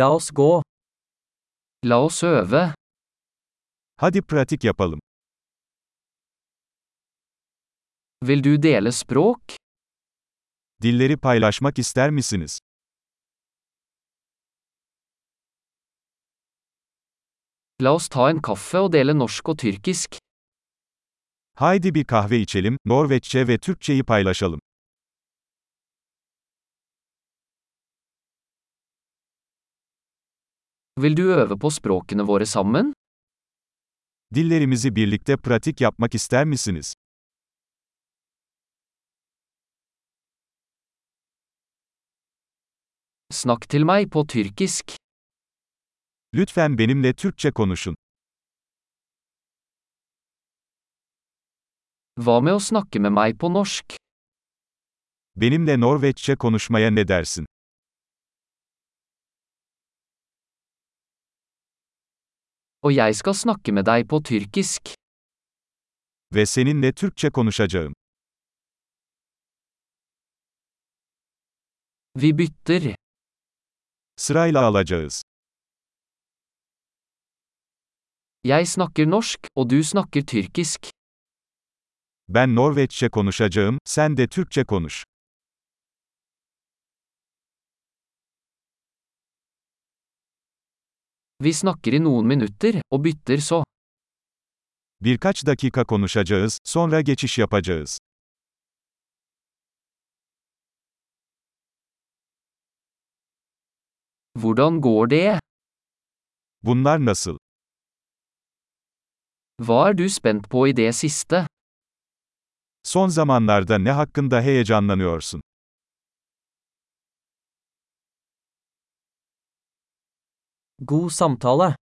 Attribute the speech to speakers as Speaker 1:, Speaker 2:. Speaker 1: La oss gå. La oss øve.
Speaker 2: Hadi pratik yapalım.
Speaker 1: Vil du dele språk?
Speaker 2: Dilleri paylaşmak ister misiniz?
Speaker 1: La oss ta en kaffe og dele norsk og tyrkisk.
Speaker 2: Haydi bir kahve içelim, Norveççe ve Türkçeyi paylaşalım.
Speaker 1: Vil du øve på språkene våre sammen?
Speaker 2: Dillerimizi birlikte pratik yapmak ister misiniz?
Speaker 1: Snakk til meg på tyrkisk.
Speaker 2: Lütfen benimle Türkçe konuşun.
Speaker 1: Hva med å snakke med meg på norsk?
Speaker 2: Benimle Norveççe konuşmaya ne dersin?
Speaker 1: Og jeg skal snakke med deg på tyrkisk.
Speaker 2: Ve seninle Türkçe konuşacağım.
Speaker 1: Vi bytter.
Speaker 2: Sırayla alacağız.
Speaker 1: Jeg snakker norsk, og du snakker tyrkisk.
Speaker 2: Ben Norveççe konuşacağım, sen de Türkçe konuş.
Speaker 1: Vi snakker i noen minutter, og bytter så.
Speaker 2: Birkaç dakika konuşacağız, sonra geçiş yapacağız.
Speaker 1: Hvordan går det?
Speaker 2: Bunlar nasıl?
Speaker 1: Hva er du spent på i det siste?
Speaker 2: Son zamanlarda ne hakkında heyecanlanıyorsun?
Speaker 1: God samtale.